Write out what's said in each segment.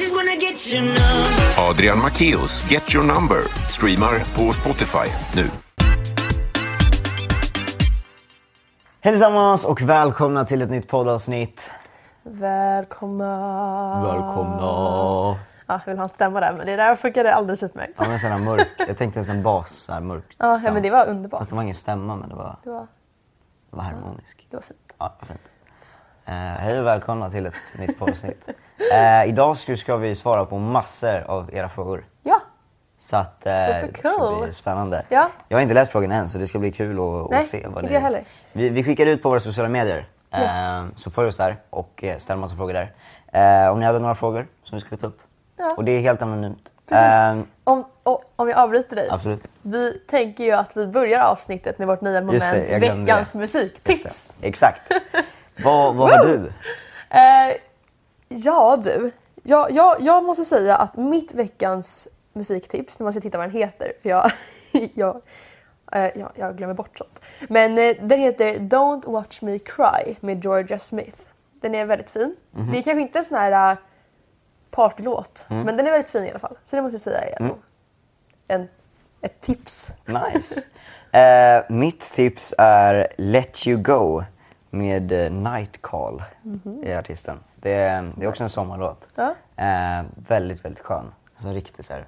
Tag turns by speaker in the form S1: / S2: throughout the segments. S1: just wanna get you now.
S2: Adrian Macchios Get Your Number streamar på Spotify nu.
S3: Hej tillsammans och välkomna till ett nytt poddavsnitt.
S4: Ah. Välkomna!
S3: Välkomna.
S4: Ja, jag vill ha en stämma där, men det där funkade alldeles utmärkt.
S3: Ja, men sån här mörk. Jag tänkte en sån här bas, så här mörkt.
S4: Ja, ja, men det var underbart.
S3: Fast det var ingen stämma, men det var,
S4: Det var,
S3: det var harmonisk.
S4: det var fint.
S3: Ja, vad fint. Eh, hej och välkomna till ett nytt poddavsnitt. Eh, idag ska, ska vi svara på massor av era frågor.
S4: Ja!
S3: Så att eh, det ska
S4: Supercool.
S3: bli spännande.
S4: Ja.
S3: Jag har inte läst frågan än så det ska bli kul att,
S4: Nej,
S3: att se. Vad
S4: inte
S3: ni-
S4: jag heller.
S3: Vi, vi skickar ut på våra sociala medier. Eh, så följ oss där och eh, ställ massa frågor där. Eh, om ni hade några frågor som vi skulle ta upp.
S4: Ja.
S3: Och det är helt anonymt. Eh,
S4: Precis. Om, och, om jag avbryter dig.
S3: absolut.
S4: Vi tänker ju att vi börjar avsnittet med vårt nya moment
S3: Just det, jag glömde
S4: Veckans
S3: det.
S4: musiktips.
S3: Exakt. vad vad har
S4: Woo!
S3: du?
S4: Eh, ja du, jag, jag, jag måste säga att mitt veckans musiktips, nu måste jag titta vad den heter för jag, jag, eh, jag, jag glömmer bort sånt. Men eh, den heter Don't Watch Me Cry med Georgia Smith. Den är väldigt fin.
S3: Mhm.
S4: Det är kanske inte en sån här eh, partylåt,
S3: Mm.
S4: men den är väldigt fin i alla fall. Så det måste jag säga är nog en, ett tips.
S3: Nice. Eh, mitt tips är Let You Go med eh, Night Call i artisten. Det är, det är också en sommarlåt.
S4: Mhm. Ja.
S3: Eh, väldigt, väldigt skön. Alltså riktigt så här.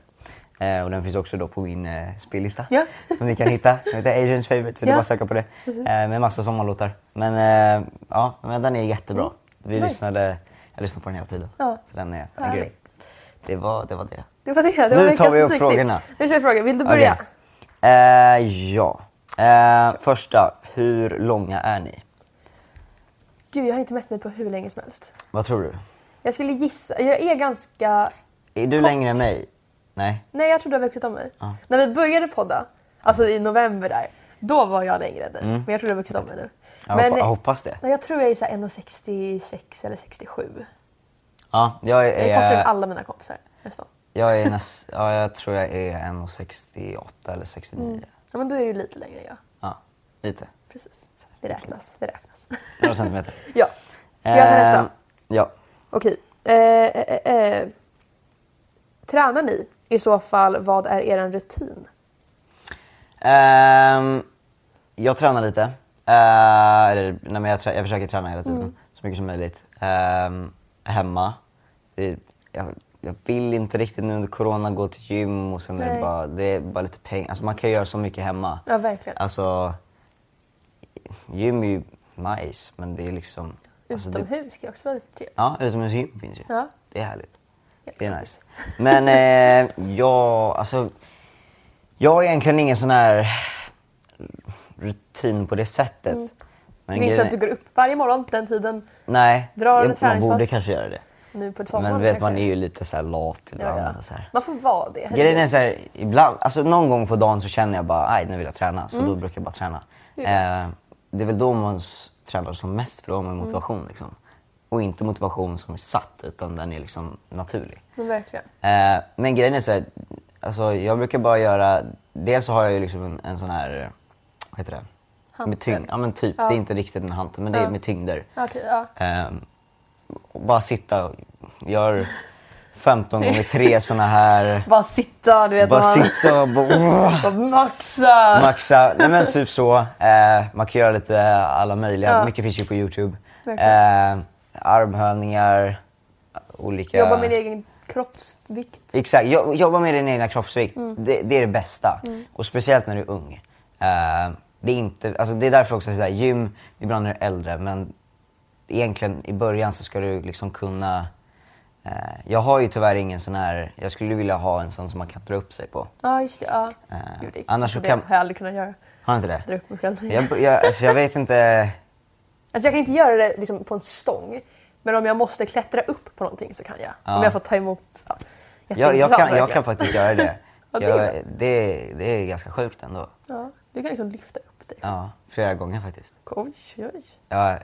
S3: Eh, och den finns också då på min eh, spellista
S4: Ja.
S3: som ni kan hitta. Den heter Asians Favorite så det är
S4: Ja.
S3: bara att söka på det.
S4: Precis.
S3: Eh, med massa sommarlåtar. Men eh, ja, men den är jättebra. Vi
S4: Mm. Nice.
S3: lyssnade, jag lyssnade på den hela tiden.
S4: Ja.
S3: Så den är, den är
S4: Härligt.
S3: grym. Det var, det var det.
S4: Det var det, det
S3: Nu
S4: var
S3: tar
S4: veckans
S3: vi upp
S4: musiktips.
S3: frågorna.
S4: Nu kör vi frågan, vill du börja?
S3: Okej. Eh, ja. Eh, första, hur långa är ni?
S4: Gud, jag har inte mätt mig på hur länge som helst.
S3: Vad tror du?
S4: Jag skulle gissa, jag är ganska...
S3: Är du längre än mig? Nej.
S4: Nej, jag tror du har vuxit om mig. När vi började podda, alltså i november där, då var jag längre än dig. Men jag tror du har vuxit om mig nu.
S3: Mm. Jag,
S4: Men,
S3: hoppa, jag hoppas det.
S4: Ja, jag tror jag är så här 1,66 eller 67.
S3: Ja, jag
S4: Jag är kortare än
S3: är,
S4: alla mina kompisar nästan.
S3: jag är näst, ja, jag tror jag är 1,68 eller 69.
S4: Ja, men då är du lite längre än jag.
S3: Ja, lite.
S4: Precis. Det räknas, det räknas.
S3: Några centimeter.
S4: ja. Ska jag ta nästa?
S3: Eh, Ja.
S4: Okej. Eh, eh, eh, eh. Tränar ni? I så fall, vad är er rutin?
S3: Ehm, jag tränar lite. Eh, eller, nej, men jag, trä- jag försöker träna hela tiden,
S4: Mm.
S3: så mycket som möjligt. Ehm, hemma. Det, jag, jag vill inte riktigt nu under corona gå till gym och sen är det,
S4: Nej.
S3: bara, det är bara lite pengar. Alltså, man kan göra så mycket hemma.
S4: Ja, verkligen.
S3: Alltså, gym är ju nice men det är liksom... alltså, det-
S4: Utomhus kan ju också vara lite trevligt.
S3: Ja, utomhusgym finns ju.
S4: Ja.
S3: Det är härligt.
S4: Helt
S3: Det är nice.
S4: fantastiskt.
S3: Men eh, jag, alltså, jag har egentligen ingen sån här rutin på det sättet. Men
S4: Mm. Det är inte så
S3: grejen
S4: att du
S3: är-
S4: går upp varje morgon på den tiden
S3: Nej,
S4: drar en
S3: jag, man borde
S4: träningspass.
S3: kanske göra det.
S4: nu på sommaren.
S3: men du vet, man
S4: kanske.
S3: är ju lite så här lat ibland.
S4: Ja, ja.
S3: Så här.
S4: Man får vara det. herregud.
S3: Grejen är så här, ibland, alltså någon gång på dagen så känner jag bara nej nu vill jag träna, så då brukar jag bara träna. Eh, det är väl då man s- tränar som mest för då har man motivation liksom. Och inte motivation som är satt utan den är liksom naturlig.
S4: Men verkligen.
S3: Eh, men grejen är så här, alltså jag brukar bara göra, dels så har jag ju liksom en, en sån här, vad heter det? Med tyngd, ja men typ, det är inte riktigt en hantel men det är med tyngder.
S4: Okej, ja.
S3: Ehm, och bara sitta och gör 15 gånger tre såna här
S4: Bara sitta, du vet.
S3: bara
S4: man,
S3: sitta och bara,
S4: bara maxa.
S3: maxa. Nej men typ så. Eh, man kan göra lite alla möjliga.
S4: Ja.
S3: Mycket finns ju på Youtube. Eh,
S4: Verkligen.
S3: armhävningar, olika...
S4: Jobba med din egen kroppsvikt.
S3: Exakt, jo- jobba med din egna kroppsvikt.
S4: Mm.
S3: Det, det är det bästa. Och speciellt när du är ung. Eh, det, är inte, alltså det är därför också sådär, gym, det är bra när du är äldre men egentligen i början så ska du liksom kunna... Eh, jag har ju tyvärr ingen sån här, jag skulle vilja ha en sån som man kan dra upp sig på.
S4: Ja, just det. Ja.
S3: Eh,
S4: Gud, det-
S3: annars så
S4: det
S3: kan-
S4: har jag aldrig kunnat göra.
S3: Har jag inte det?
S4: Dra upp mig själv.
S3: Jag, jag, alltså jag vet inte.
S4: Alltså, jag kan inte göra det liksom, på en stång. Men om jag måste klättra upp på någonting så kan jag.
S3: Ja.
S4: Om jag får ta emot. Ja.
S3: Jag, jag,
S4: Jätteintressant,
S3: kan, jag
S4: verkligen.
S3: kan faktiskt göra det.
S4: Ja, det är
S3: Jag, det, det är ganska sjukt ändå.
S4: Ja, du kan liksom lyfta upp dig.
S3: Ja, flera gånger faktiskt.
S4: Oj, oj.
S3: Jag,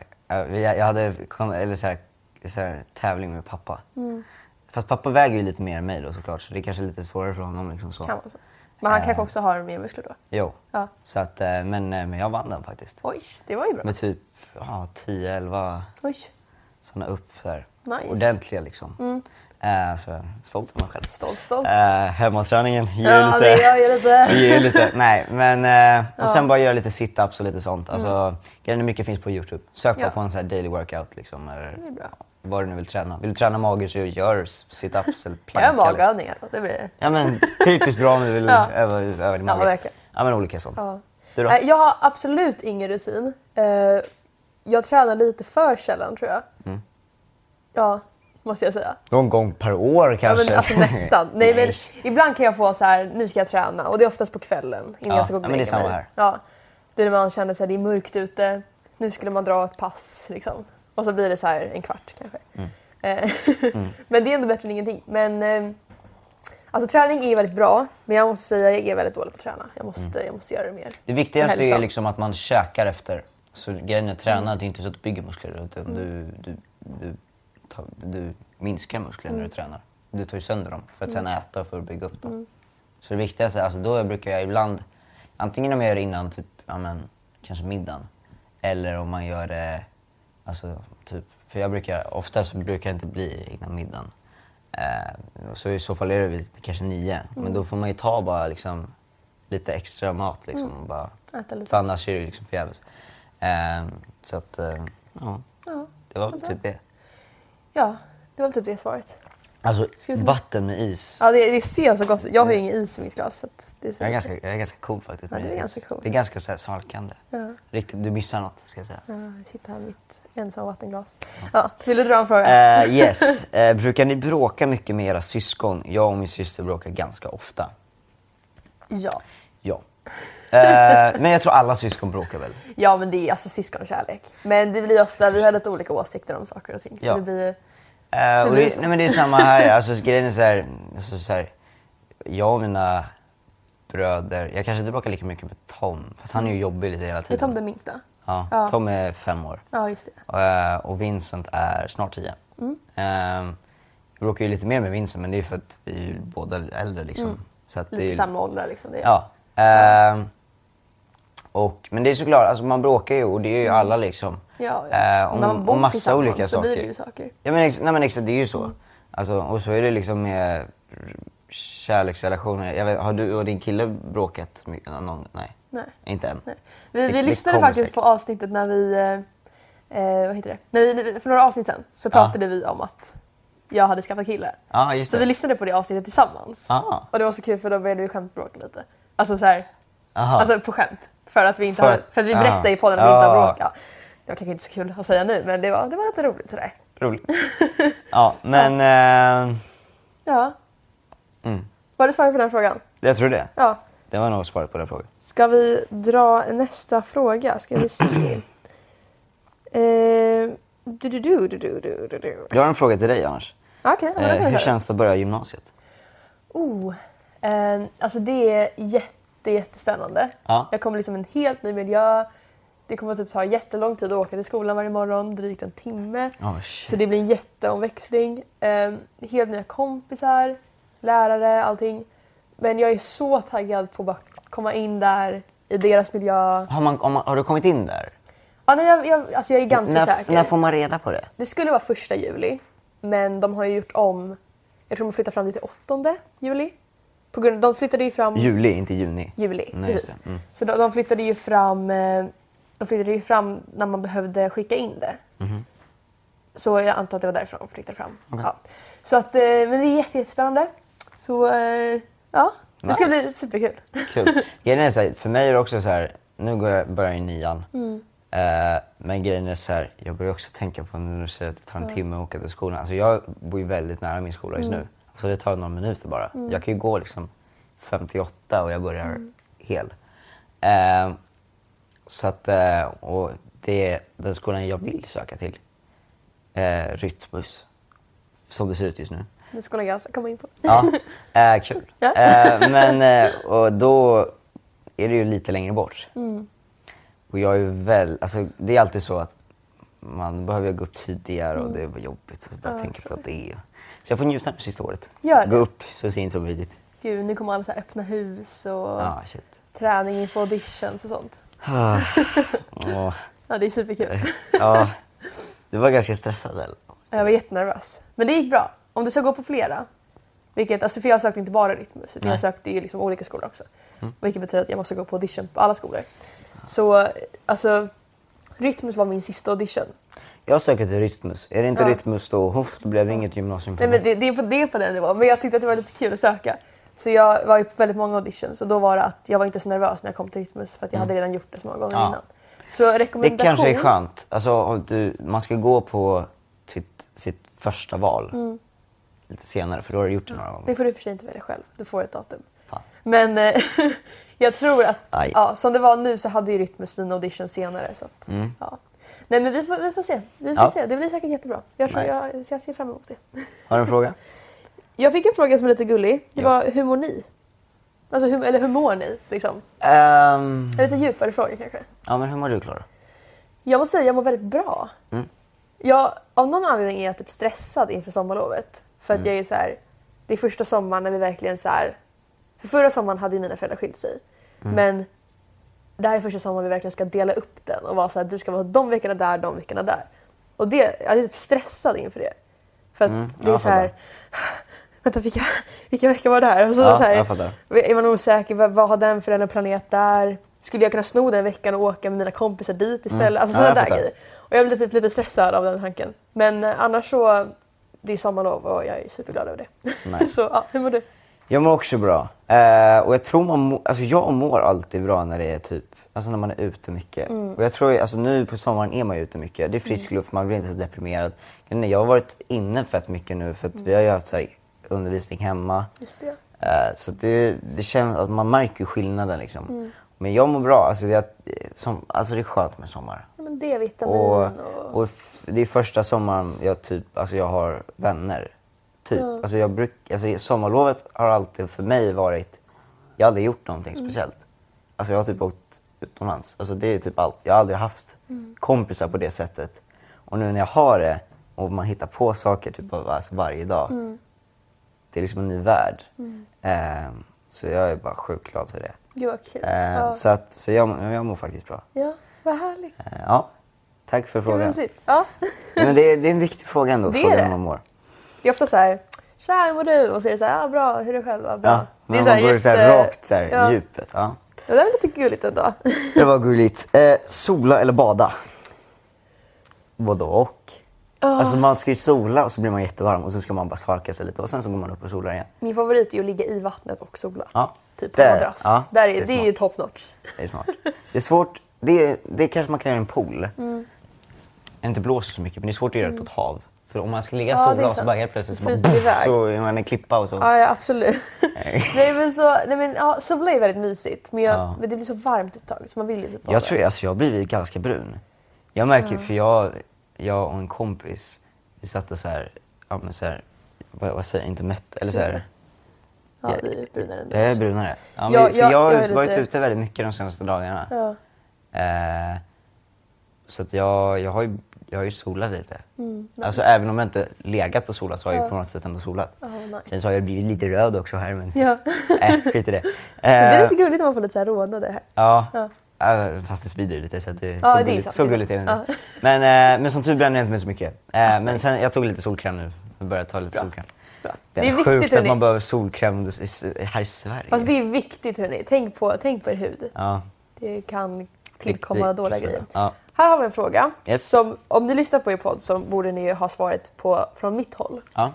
S3: jag, jag hade kon- eller så här, så här, tävling med pappa.
S4: Mm.
S3: Fast pappa väger ju lite mer än mig då såklart så det är kanske lite svårare för honom. Liksom så.
S4: Kan vara så. Men han
S3: Eh.
S4: kanske också har mer muskler då.
S3: Jo.
S4: Ja.
S3: Så att, eh, men, eh, men jag vann den faktiskt.
S4: Oj, det var ju bra.
S3: Med typ ja, 10-11
S4: Oj.
S3: sådana upp där.
S4: Nice. Mm.
S3: Ordentliga liksom. Eh, så stolt av mig själv.
S4: Stolt, stolt.
S3: Eh, hemmaträningen ger
S4: Ja,
S3: lite...
S4: det gör ju lite.
S3: det ger lite. Nej, men... eh, och sen bara göra lite sit-ups och lite sånt. Alltså, Grejen är mycket finns på Youtube. Sök bara
S4: Mm. Ja.
S3: på en sån här daily workout liksom. Eller
S4: är bra.
S3: vad du nu vill träna. Vill du träna mage så gör sit-ups eller planka.
S4: Gör
S3: liksom.
S4: magövningar då, det blir
S3: Ja men typiskt bra om du vill
S4: Ja.
S3: öva, öva din
S4: Ja,
S3: mage.
S4: verkligen.
S3: Ja, men olika sånt.
S4: Ja.
S3: Du då?
S4: Nej, Jag har absolut ingen rutin. Eh, Jag tränar lite för sällan tror jag.
S3: Mm.
S4: Ja, måste jag säga.
S3: Någon gång per år
S4: Ja,
S3: kanske?
S4: men, alltså nästan. Nej, men, ibland kan jag få så här, nu ska jag träna och det är oftast på kvällen innan
S3: Ja,
S4: jag ska gå och
S3: ja, men det är
S4: lägga
S3: samma
S4: mig.
S3: här.
S4: Ja. Det är när man känner sig det är mörkt ute, nu skulle man dra ett pass liksom. Och så blir det så här en kvart kanske.
S3: Mm.
S4: Eh, men det är ändå bättre än ingenting. Men, eh, alltså träning är väldigt bra, men jag måste säga jag är väldigt dålig på att träna. Jag måste, jag måste göra det mer.
S3: Mm. Det viktigaste är
S4: Hälsa.
S3: liksom att man käkar efter. Så grejen är att
S4: Mm.
S3: träna, det är inte så att du bygger muskler utan du, du, du, tar, du minskar muskler
S4: Mm.
S3: när du tränar. Du tar ju sönder dem för att sen äta för att bygga upp dem. Så det viktigaste, alltså då brukar jag ibland, antingen om jag gör det innan typ, ja men kanske middagen. Eller om man gör det, alltså typ, för jag brukar, oftast brukar det inte bli innan middagen. Eh, så i så fall är det vid kanske nio.
S4: Mm.
S3: Men då får man ju ta bara liksom lite extra mat liksom. Och bara,
S4: Mm. Äta lite.
S3: För annars är det liksom förgäves. Eh, så att, eh, ja. Det var typ det.
S4: Ja, det var väl typ det svaret.
S3: Alltså
S4: Ska vi-
S3: vatten med is.
S4: Ja, det, det ser så gott ut. Jag har ju ingen is i mitt glas. Så att det är så
S3: Mm. Jag är ganska, jag är ganska cool faktiskt.
S4: Ja,
S3: med
S4: du är
S3: is.
S4: ganska cool.
S3: Det är ganska så här, salkande. Riktigt, du missar något ska jag säga.
S4: Ja, jag sitter Eh, här med mitt ensamma vattenglas. Ja, vill du dra en fråga?
S3: Eh, yes. Eh, brukar ni bråka mycket med era syskon? Jag och min syster bråkar ganska ofta.
S4: Ja.
S3: Ja. Eh, men jag tror alla syskon bråkar väl?
S4: Ja men det är alltså syskonkärlek. Men det blir ofta, vi har lite olika åsikter om saker och ting. Så
S3: Ja.
S4: det blir
S3: Eh, och
S4: blir
S3: det,
S4: så.
S3: nej, men det är samma här. Alltså, grejen är så här, alltså, så här, jag och mina bröder, jag kanske inte bråkar lika mycket med Tom, fast han är ju jobbig lite hela
S4: Är
S3: tiden.
S4: Tom den minsta?
S3: Ja,
S4: Ja.
S3: Tom är fem år.
S4: Ja just det.
S3: Eh, och Vincent är snart tio.
S4: Mm.
S3: Eh, jag bråkar ju lite mer med Vincent men det är ju för att vi är ju båda äldre liksom. Så att det är
S4: Mm. Lite
S3: ju-
S4: samma åldrar liksom. Det är.
S3: Ja. Ehm, och, men det är såklart, alltså man bråkar ju och det är ju alla liksom.
S4: Ja, ja.
S3: Eh, om,
S4: När man bor
S3: om massa
S4: tillsammans
S3: olika
S4: så
S3: saker.
S4: blir det ju saker.
S3: Ja, men, ex- nej, men exakt, det är ju så. Alltså, och så är det liksom med kärleksrelationer. Jag vet, har du och din kille bråkat mycket någon Nej.
S4: Nej.
S3: Inte än.
S4: Nej. Vi,
S3: Det-
S4: vi
S3: det
S4: lyssnade
S3: kommer
S4: faktiskt
S3: säkert.
S4: på avsnittet när vi, eh, eh, vad heter det? När vi, för några avsnitt sen så pratade vi om att jag hade skaffat kille.
S3: Ja, just
S4: Så
S3: det.
S4: vi lyssnade på det avsnittet tillsammans.
S3: Ah.
S4: Och det var så kul för då började vi skämtbråka lite. Alltså så här,
S3: Aha.
S4: Alltså på skämt. För att vi, inte
S3: För-
S4: har, för att vi
S3: Ja.
S4: berättade i podden att vi inte har
S3: Ja.
S4: bråkat. Det var kanske inte så kul att säga nu men det var, det var lite roligt sådär.
S3: Roligt. ja, men eh,
S4: Ja.
S3: Mm.
S4: Var det svaret på den frågan?
S3: jag tror det.
S4: Ja.
S3: Det var nog svaret på den frågan.
S4: Ska vi dra nästa fråga? Ska vi se. Eh, du, du, du, du, du, du, du, du.
S3: Jag har en fråga till dig annars.
S4: Okej, okay,
S3: Eh,
S4: eh,
S3: hur känns det att börja gymnasiet?
S4: Oh, eh, alltså det är jätte, jättespännande.
S3: Ja.
S4: Jag kommer liksom en helt ny miljö. Det kommer typ ta jättelång tid att åka till skolan varje morgon, drygt en timme.
S3: Oh, shit.
S4: så det blir en jätteomväxling. Eh, helt nya kompisar, lärare, allting. Men jag är så taggad på att bara komma in där, i deras miljö.
S3: Har, man, om man, har du kommit in där?
S4: Ja, nej, jag, jag, alltså jag är ganska
S3: När,
S4: säker.
S3: när får man reda på det?
S4: Det skulle vara första juli, men de har ju gjort om. Jag tror de flyttar fram det till 8 juli. På grund, de flyttade ju fram
S3: Juli, inte juni.
S4: juli.
S3: Nej, just
S4: precis.
S3: det. Mm.
S4: Så de, de flyttade ju fram eh, de flyttade ju fram när man behövde skicka in det.
S3: Mhm.
S4: Så jag antar att det var därför de flyttade fram. Ja. Så att, eh, men det är jätte, jättespännande. Så eh, ja, det
S3: Nice.
S4: ska bli superkul.
S3: Kul. Grejen är så här, för mig är det också så här, nu går jag, börjar jag i nian. Eh, men grejen är så här, jag börjar också tänka på när du säger att det tar en timme att åka till skolan. Alltså jag bor ju väldigt nära min skola just nu. Alltså det tar några minuter bara. Jag kan ju gå liksom 58 och jag börjar hel. Eh, så att, eh, och det är den skolan jag vill söka till. Eh, Rytmus. Som det ser ut just nu.
S4: Det skulle jag alltså komma in på.
S3: Ja, eh, kul.
S4: Ja.
S3: Eh, men eh, och då är det ju lite längre bort.
S4: Mm.
S3: Och jag är ju väl, alltså det är alltid så att man behöver ju gå upp tidigare
S4: Mm.
S3: och det är jobbigt att bara tänka på att det är. Så jag får njuta nu sista året.
S4: Gör det.
S3: Gå upp så sent som möjligt.
S4: Gud, nu kommer alla så här öppna hus och
S3: Ja, shit.
S4: träning inför auditions och sånt.
S3: Åh,
S4: Ja, det är superkul.
S3: ja. Du var ganska stressad väl?
S4: Jag var jättenervös. Men det gick bra. Om du ska gå på flera, vilket, alltså för jag sökte inte bara Rytmus utan
S3: Nej. Mm.
S4: jag sökte ju liksom olika skolor också. Vilket betyder att jag måste gå på audition på alla skolor. Så alltså, Rytmus var min sista audition.
S3: Jag söker till Rytmus. Är det inte
S4: Ja.
S3: Rytmus då, huff, då blir det inget gymnasium för
S4: Nej, men
S3: mig.
S4: det, det, är på, det är på den nivån. Men jag tyckte att det var lite kul att söka. Så jag var ju på väldigt många auditions och då var det att jag var inte så nervös när jag kom till Rytmus för att jag hade redan gjort det så många gånger
S3: Mm. Ja.
S4: innan. Så
S3: Det
S4: rekommendation.
S3: kanske är skönt. Alltså, om du, man ska gå på sitt, sitt första val lite senare för då har du gjort det några
S4: Mm. Det
S3: gånger.
S4: får du i och för sig inte välja själv. Du får ett datum.
S3: Fan.
S4: Men eh, jag tror att
S3: Aj.
S4: ja, som det var nu så hade ju Rytmus sina auditions senare. Så att, ja. Nej men vi får, vi får se. Vi får
S3: Mm. Ja.
S4: se. Det blir säkert jättebra. Jag, tror,
S3: Nice.
S4: jag, jag ser fram emot det.
S3: Har du en fråga?
S4: Jag fick en fråga som är lite gullig. Det
S3: Ja.
S4: var hur mår ni? Alltså hur, eller hur mår ni? Liksom.
S3: Ehm,
S4: En lite djupare fråga kanske.
S3: ja, men hur mår du Klara?
S4: Jag måste säga jag mår väldigt bra.
S3: Mm.
S4: Jag, av någon anledning är jag typ stressad inför sommarlovet. För
S3: Mm.
S4: att jag är så här, det är första sommaren när vi verkligen så här, för förra sommaren hade ju mina föräldrar skilt sig.
S3: Mm.
S4: Men det här är första sommaren vi verkligen ska dela upp den och vara så här, du ska vara de veckorna där, de veckorna där. Och det, jag är typ stressad inför det. För att det är
S3: Mm, jag
S4: så här,
S3: fattar.
S4: vänta vilka, vilka veckor var det här? Och så,
S3: Ja,
S4: så här
S3: jag fattar.
S4: är man osäker, vad, vad har den för en planet där? Skulle jag kunna sno den veckan och åka med mina kompisar dit istället? Alltså
S3: Mm. Ja,
S4: sådana
S3: jag
S4: där
S3: fattar.
S4: grejer. Och jag blir typ lite stressad av den tanken. Men eh, annars så, det är sommarlov och jag är superglad över det.
S3: Nice.
S4: så ja, hur mår du?
S3: Jag mår också bra. Eh, och jag tror man mår, alltså jag mår alltid bra när det är typ, alltså när man är ute mycket.
S4: Mm.
S3: Och jag tror, ju- alltså nu på sommaren är man ju ute mycket. Det är frisk luft, man blir inte så deprimerad. Jag, vet inte, jag har varit inne fett mycket nu för att vi har ju haft så här, undervisning hemma.
S4: Mm. Just det, ja.
S3: Eh, så att det, det känns att man märker ju skillnaden liksom.
S4: Mm.
S3: Men jag mår bra, alltså det, som, alltså det är skönt med sommar.
S4: Ja, men D-vitamin
S3: Och,
S4: och...
S3: och f- det är första sommaren jag, typ, alltså jag har vänner. Typ. Alltså jag bruk, alltså sommarlovet har alltid för mig varit... Jag har aldrig gjort någonting
S4: Mm.
S3: speciellt. Alltså jag har typ åkt utomlands. Alltså det är typ allt. Jag har aldrig haft
S4: Mm.
S3: kompisar på det sättet. Och nu när jag har det och man hittar på saker typ, av- alltså varje dag.
S4: Mm.
S3: Det är liksom en ny värld. Ehm, så jag är bara sjukt glad för det.
S4: Gud vad kul.
S3: Ehm,
S4: ja.
S3: Så, att, så jag, jag mår faktiskt bra.
S4: ja, vad härligt. Gud,
S3: Ehm, ja. Tack för
S4: vad
S3: frågan.
S4: mysigt. Ja.
S3: Men det, är- det är en viktig fråga ändå,
S4: Det är
S3: frågan
S4: det.
S3: om man mår.
S4: Det är ofta så här, tja hur mår du? Och så är det så här, ja, bra, hur är du själv? Ja, bra.
S3: Ja,
S4: det är
S3: men man går så här
S4: jätte-
S3: rakt så här,
S4: ja.
S3: djupet. Ja.
S4: Ja, det är lite gulligt ändå.
S3: Det var gulligt. Eh, sola eller bada? Både och.
S4: Ah.
S3: Alltså man ska ju sola och så blir man jättevarm och så ska man bara svalka sig lite och sen så går man upp och solar igen.
S4: Min favorit är ju att ligga i vattnet och sola.
S3: Ja,
S4: Typ på
S3: där-
S4: madrass.
S3: ja,
S4: Där
S3: det
S4: är,
S3: är
S4: det är ju top notch.
S3: Det är smart. Det är svårt, det, är, det kanske man kan göra i en pool. Mm. Inte blåser så mycket men det är svårt att göra det på ett hav. För om man ska ligga och
S4: Ja, det är
S3: sola och så
S4: sant.
S3: bara helt plötsligt så, bara,
S4: Flyter iväg.
S3: så är man i en klippa och så.
S4: Ja, ja absolut. nej men så, nej men ja, sola är väldigt mysigt men, jag,
S3: Ja.
S4: men det blir så varmt ett tag så man vill ju typ
S3: Jag tror alltså jag har blivit ganska brun. Jag märker, för jag, jag och en kompis, vi satt och så här, ja men så här, vad, vad säger jag, inte mätt, eller så här,
S4: Ja, det är ju brunare än
S3: jag
S4: du.
S3: är
S4: också.
S3: brunare. Ja, men,
S4: Ja,
S3: för
S4: jag-
S3: jag har
S4: jag är lite-
S3: varit ute väldigt mycket de senaste dagarna.
S4: Ja.
S3: Eh, så att jag, jag, har ju, jag har ju solat lite.
S4: Mm,
S3: Alltså även om jag inte legat och solat så har jag ju på något sätt ändå solat.
S4: nice.
S3: Sen så har jag blivit lite röd också här men
S4: Ja.
S3: äh, skit i det.
S4: Men det är
S3: Eh,
S4: lite gulligt om man får lite så här rånade här.
S3: Ja. Eh, Fast det svider ju lite så att det,
S4: Ja,
S3: så
S4: det är
S3: gulligt,
S4: sant,
S3: så
S4: det är
S3: gulligt är det
S4: sant.
S3: inte.
S4: Ja. Ah,
S3: Men, eh, men som tur bränner jag inte mig så mycket. Eh, men sen, jag tog lite solkräm nu. Jag börjar ta lite solkräm. Det är,
S4: Det är
S3: sjukt
S4: viktigt,
S3: att
S4: hörni.
S3: man behöver solkräm under- i- i- här i Sverige.
S4: Fast det är viktigt hörni. Tänk på, tänk på er hud.
S3: Ja.
S4: Det kan
S3: Det-
S4: tillkomma
S3: det-
S4: dåliga
S3: så,
S4: grejer.
S3: ja.
S4: Här har vi en fråga.
S3: Yes.
S4: Som, om ni lyssnar på er podd så borde ni ju ha svaret på, från mitt håll.
S3: Ja.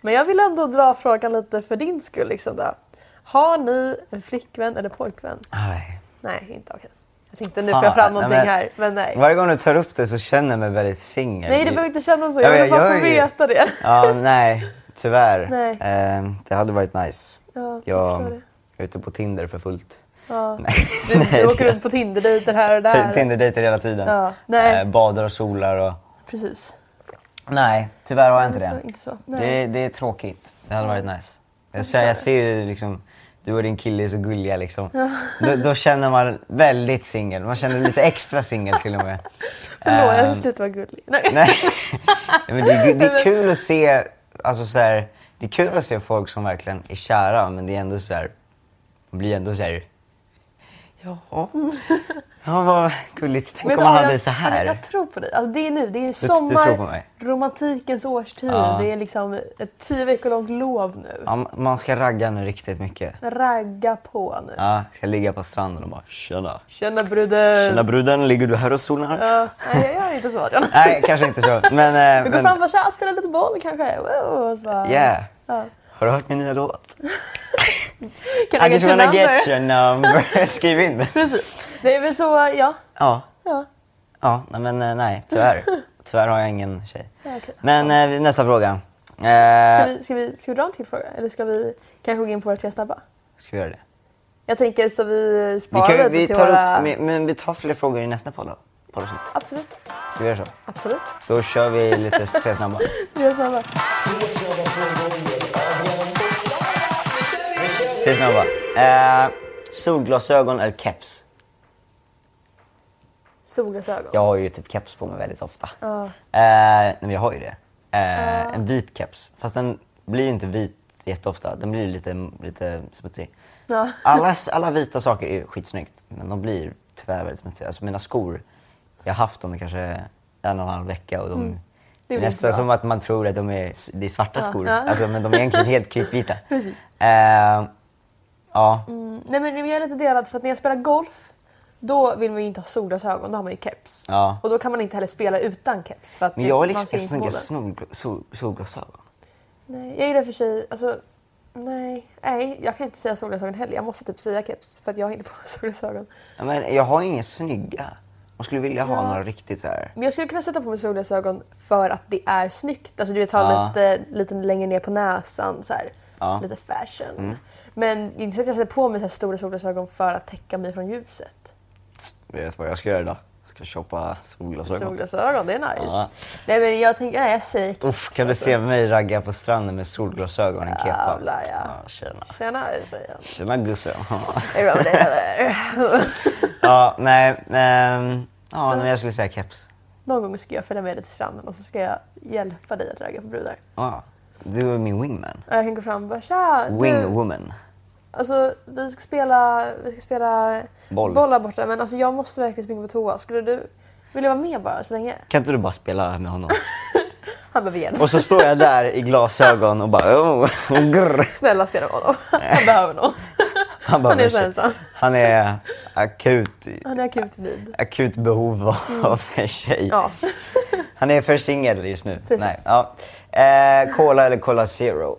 S4: Men jag vill ändå dra frågan lite för din skull. Liksom där. Har ni en flickvän eller pojkvän?
S3: Aj.
S4: Nej, inte okej. Jag tänkte nu får
S3: Fan,
S4: jag fram
S3: Ah, nej,
S4: någonting
S3: men-
S4: här, men nej.
S3: Varje gång du tar upp det så känner jag mig väldigt singel.
S4: Nej, du behöver inte känna så.
S3: Ja,
S4: Jag
S3: men
S4: vill bara
S3: jag
S4: få
S3: är-
S4: veta det.
S3: Ja, nej. Tyvärr.
S4: Nej.
S3: Eh, det hade varit nice.
S4: Ja, jag
S3: jag,
S4: förstår
S3: jag
S4: det.
S3: är ute på Tinder för fullt.
S4: Ja.
S3: Nej.
S4: Du,
S3: Nej,
S4: du åker runt på Tinder-dejter här och där.
S3: Tinder-dejter hela tiden.
S4: Ja, nej.
S3: Eh, badar och solar och...
S4: Precis.
S3: Nej, tyvärr har jag inte
S4: Inte så-
S3: det.
S4: inte så.
S3: Det,
S4: Nej.
S3: det är tråkigt. Det hade varit nice. Jag ser, jag ser ju liksom, du och din kille är så gulliga liksom. Då, då känner man väldigt singel. Man känner lite extra singel till och med.
S4: Förlåt,
S3: Ehm,
S4: jag visste inte vara gullig. Nej.
S3: Nej. Men det, är- det är kul att se, alltså så här, det är kul att se folk som verkligen är kära men det är ändå så här, man blir ändå så här Ja. Ja, vad gulligt. Tänk
S4: Vet
S3: om
S4: du,
S3: man
S4: Aron,
S3: hade det så här.
S4: Jag tror på dig. Alltså, det är nu. Det är
S3: tror
S4: sommar,
S3: på mig.
S4: romantikens årstid.
S3: Ja.
S4: Det är liksom ett tio veckor långt lov nu.
S3: Ja, ma- man ska ragga nu riktigt mycket.
S4: Ragga på nu.
S3: Ja, ska ligga på stranden och bara tjena.
S4: Tjena bruden!
S3: Tjena bruden, ligger du här och solnar?
S4: Ja, nej, jag gör inte så Adrian.
S3: Nej, kanske inte så. Men... eh,
S4: Vi går
S3: men-
S4: framför så här och spelar lite boll kanske. Wow, och bara,
S3: Yeah.
S4: Ja.
S3: Har du hört min nya låt? I
S4: Kan jag
S3: just
S4: lägga
S3: wanna
S4: till
S3: get
S4: nummer?
S3: your number. Skriv in det.
S4: Precis. Det är väl så, ja.
S3: Ja.
S4: ja.
S3: Ja, nej, men eh, nej, tyvärr. Tyvärr har jag ingen tjej.
S4: Ja, okej.
S3: Men eh, vi- nästa fråga. Eh,
S4: Ska, vi, ska, vi, ska vi dra en till fråga? Eller ska vi kanske gå in på våra tre snabba?
S3: Ska vi göra det?
S4: Jag tänker så vi
S3: Vi,
S4: sparar
S3: kan, ju-
S4: lite
S3: vi
S4: till
S3: tar
S4: våra...
S3: upp, men, men vi tar fler frågor i nästa podd då. Poddavsnitt.
S4: Absolut.
S3: Ska vi göra så?
S4: Absolut.
S3: Då kör vi lite tre snabba.
S4: Tre snabba.
S3: Tre snabba. Eh, solglasögon eller keps?
S4: Solglasögon.
S3: Jag har ju typ keps på mig väldigt ofta.
S4: Ja.
S3: Eh, nej, men jag har ju det. Eh, En vit keps. Fast den blir ju inte vit jätteofta. Den blir ju lite, lite smutsig.
S4: Ja.
S3: Alla, alla vita saker är ju skitsnyggt. Men de blir tyvärr väldigt smutsiga. Alltså mina skor, jag har haft dem i kanske en och en halv vecka och de
S4: Mm. Det
S3: Det är
S4: är väl
S3: nästan
S4: inte bra.
S3: som att man tror att de är, s- det är svarta skor.
S4: ja.
S3: Alltså, men de är egentligen helt kritvita.
S4: Precis.
S3: Eh, ja,
S4: Mm, Nej men jag är lite delad för att när jag spelar golf då vill man ju inte ha solglasögon, då har man ju keps.
S3: Ja.
S4: Och då kan man inte heller spela utan keps. För att
S3: men
S4: det-
S3: jag är
S4: man ser
S3: liksom
S4: inte
S3: snygga
S4: bollen.
S3: snor- sol- solglasögon.
S4: Nej, jag gillar för sig, alltså, nej, nej, jag kan inte säga solglasögon heller. Jag måste typ säga keps för att jag har inte på mig solglasögon.
S3: Ja, men jag har ju inga snygga. Man skulle vilja ha
S4: Ja.
S3: några riktigt så här.
S4: Men jag skulle kunna sätta på mig solglasögon för att det är snyggt. Alltså du vet, ha
S3: Ja.
S4: lite, lite längre ner på näsan så här.
S3: Ja. Mm.
S4: Lite fashion. Men det är inte så att jag sätter på mig så här stora solglasögon för att täcka mig från ljuset.
S3: Vet vad jag ska göra idag? Jag ska shoppa solglasögon.
S4: Solglasögon, det är nice.
S3: Ja.
S4: Nej men jag tänker, nej jag säger keps.
S3: Uff, kan du
S4: alltså.
S3: se mig ragga på stranden med solglasögon och en kepa?
S4: Jävlar, ja.
S3: Tjena.
S4: Tjena tjejen.
S3: Tjena gusse.
S4: Är det bra med dig eller?
S3: ja, nej. ehm, ja, men jag skulle säga keps.
S4: Någon gång ska jag följa med dig till stranden och så ska jag hjälpa dig att ragga på brudar.
S3: Ja. Du är min wingman.
S4: Och jag kan gå fram och bara tja, du,
S3: Wingwoman.
S4: alltså, vi ska spela, vi ska spela
S3: Boll.
S4: här borta men alltså, jag måste verkligen springa på toa. Skulle du vilja vara med bara så länge?
S3: Kan inte du bara spela med honom?
S4: Han behöver hjälp.
S3: Och så står jag där i glasögon och bara... Oh, grr.
S4: Snälla spela med honom. Han behöver någon.
S3: Han, bara,
S4: Han är så
S3: "Ursäkta."
S4: ensam.
S3: Han är akut,
S4: Han är akut need.
S3: akut behov av en tjej.
S4: Ja.
S3: Han är för singel just nu.
S4: Precis.
S3: Nej, ja. eh, cola eller Cola Zero?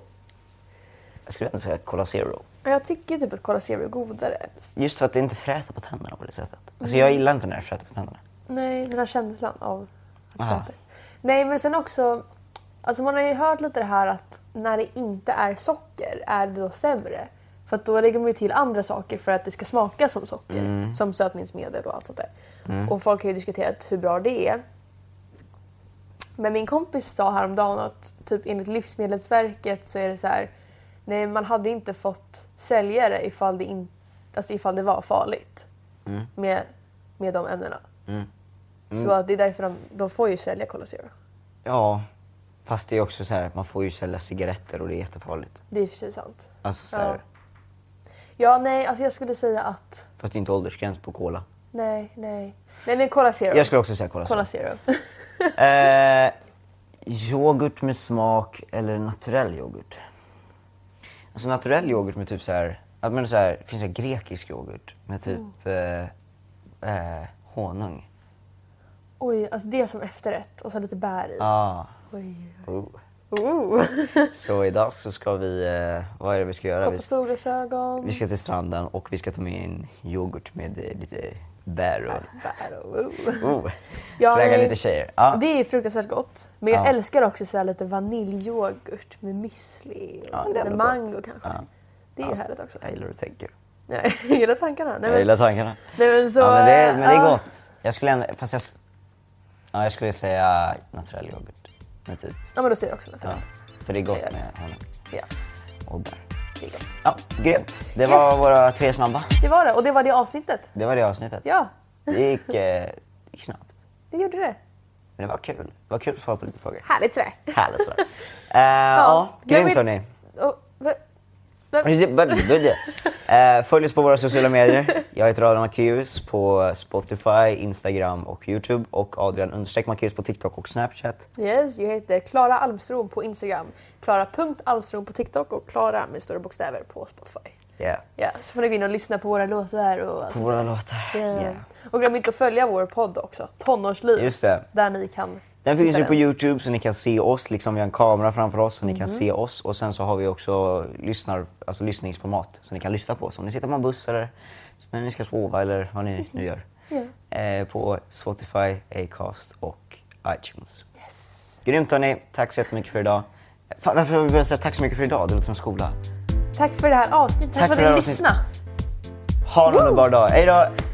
S3: Jag skulle ändå säga Cola Zero.
S4: Men Jag tycker typ att Cola Zero är godare.
S3: Just för att det inte fräter på tänderna på det sättet. Alltså jag
S4: Mm.
S3: gillar inte när det fräter på tänderna.
S4: Nej, den här känslan av att
S3: Aha.
S4: fräta. Nej, men sen också... Alltså man har ju hört lite det här att när det inte är socker är det då sämre. För att då lägger man ju till andra saker för att det ska smaka som socker. Som sötningsmedel och allt sånt där. Och folk har ju diskuterat hur bra det är. Men min kompis sa häromdagen att typ enligt Livsmedelsverket så är det så här... Nej, man hade inte fått sälja det ifall det, in, alltså ifall det var farligt med, med de ämnena. Så
S3: Mm.
S4: att det är därför de, de får ju sälja Cola Zero.
S3: Ja, fast det är också så här, man får ju sälja cigaretter och det är jättefarligt.
S4: Det är i och för sig sant.
S3: Alltså så här,
S4: Ja. Ja, nej, alltså jag skulle säga att...
S3: fast det är inte åldersgräns på cola.
S4: Nej, nej. Nej, men Cola Zero.
S3: Jag skulle också säga Cola Zero.
S4: Cola Zero.
S3: Eh, yoghurt med smak eller naturell yoghurt? Alltså naturell yoghurt med typ så här, ja, men så här det finns ju grekisk yoghurt med typ
S4: Oh.
S3: eh, eh, honung.
S4: Oj, alltså det som efterrätt och så lite bär i.
S3: Ah.
S4: Oj.
S3: Oh.
S4: Oh.
S3: Så idag så ska vi, eh, vad är det vi ska göra?
S4: Kopp
S3: Vi,
S4: och solglasögon.
S3: vi ska till stranden och vi ska ta med in yoghurt med eh, lite bär och
S4: Bär och oh.
S3: oh.
S4: Ja,
S3: ragga
S4: nej.
S3: lite tjejer. Ah. Ja.
S4: Det är fruktansvärt gott. Men jag
S3: Ja.
S4: älskar också så här lite vaniljyoghurt med müsli och
S3: Ja, det är
S4: lite
S3: ändå
S4: mango
S3: gott.
S4: kanske.
S3: Ja.
S4: Det är ju härligt också.
S3: Ah, Jag gillar hur du tänker.
S4: Nej, jag gillar tankarna. Nej,
S3: Jag
S4: men,
S3: gillar tankarna.
S4: nej, men så...
S3: Ja, men det,
S4: eh,
S3: men det är
S4: ja.
S3: gott. Jag skulle ändå, fast jag, s- ja, jag skulle säga naturell yoghurt. Med typ.
S4: Ja, men då säger jag också
S3: Ja.
S4: naturligt.
S3: För det är gott
S4: Jag gör
S3: med honung
S4: Ja.
S3: och bär.
S4: det är gott.
S3: Ja, grymt. Det var
S4: Yes.
S3: våra tre snabba.
S4: Det var det och det var det avsnittet.
S3: Det var det avsnittet.
S4: Ja,
S3: Det gick, eh, gick snabbt.
S4: det gjorde det.
S3: Men det var kul. Det var kul att svara på lite frågor.
S4: Härligt sådär.
S3: Härligt sådär. Eh, ja,
S4: glöm
S3: grymt
S4: inte-
S3: hörni.
S4: Och, va- va-
S3: Budget, budget. Eh, följ oss på våra sociala medier. Jag heter Adrian Marcus på Spotify, Instagram och Youtube och Adrian understreck Marcus på TikTok och Snapchat.
S4: Yes, jag heter Klara Almstrom på Instagram, klara.almstrom på TikTok och Klara med stora bokstäver på Spotify.
S3: Yeah.
S4: Ja, så får ni gå in och lyssna på våra låtar och allt
S3: På
S4: sånt
S3: våra
S4: där.
S3: låtar.
S4: Ja.
S3: Yeah.
S4: Och glöm inte att följa vår podd också, Tonårsliv.
S3: Just det.
S4: Där ni kan
S3: Den finns ju
S4: hitta
S3: på Youtube så ni kan se oss, liksom vi har en kamera framför oss så ni
S4: Mhm.
S3: kan se oss och sen så har vi också lyssnar, alltså lyssningsformat så ni kan lyssna på oss om ni sitter på en buss eller när ni ska sova eller vad ni nu gör. Eh, på Spotify, Acast och iTunes.
S4: Yes.
S3: Grymt hörni, tack så jättemycket för idag. Fan, varför har vi börjat säga tack så mycket för idag? Det låter som skola.
S4: Tack för det här avsnittet, tack,
S3: Tack
S4: för
S3: för
S4: att
S3: det
S4: ni
S3: här avsnittet.
S4: lyssnade.
S3: Ha en underbar dag, hejdå!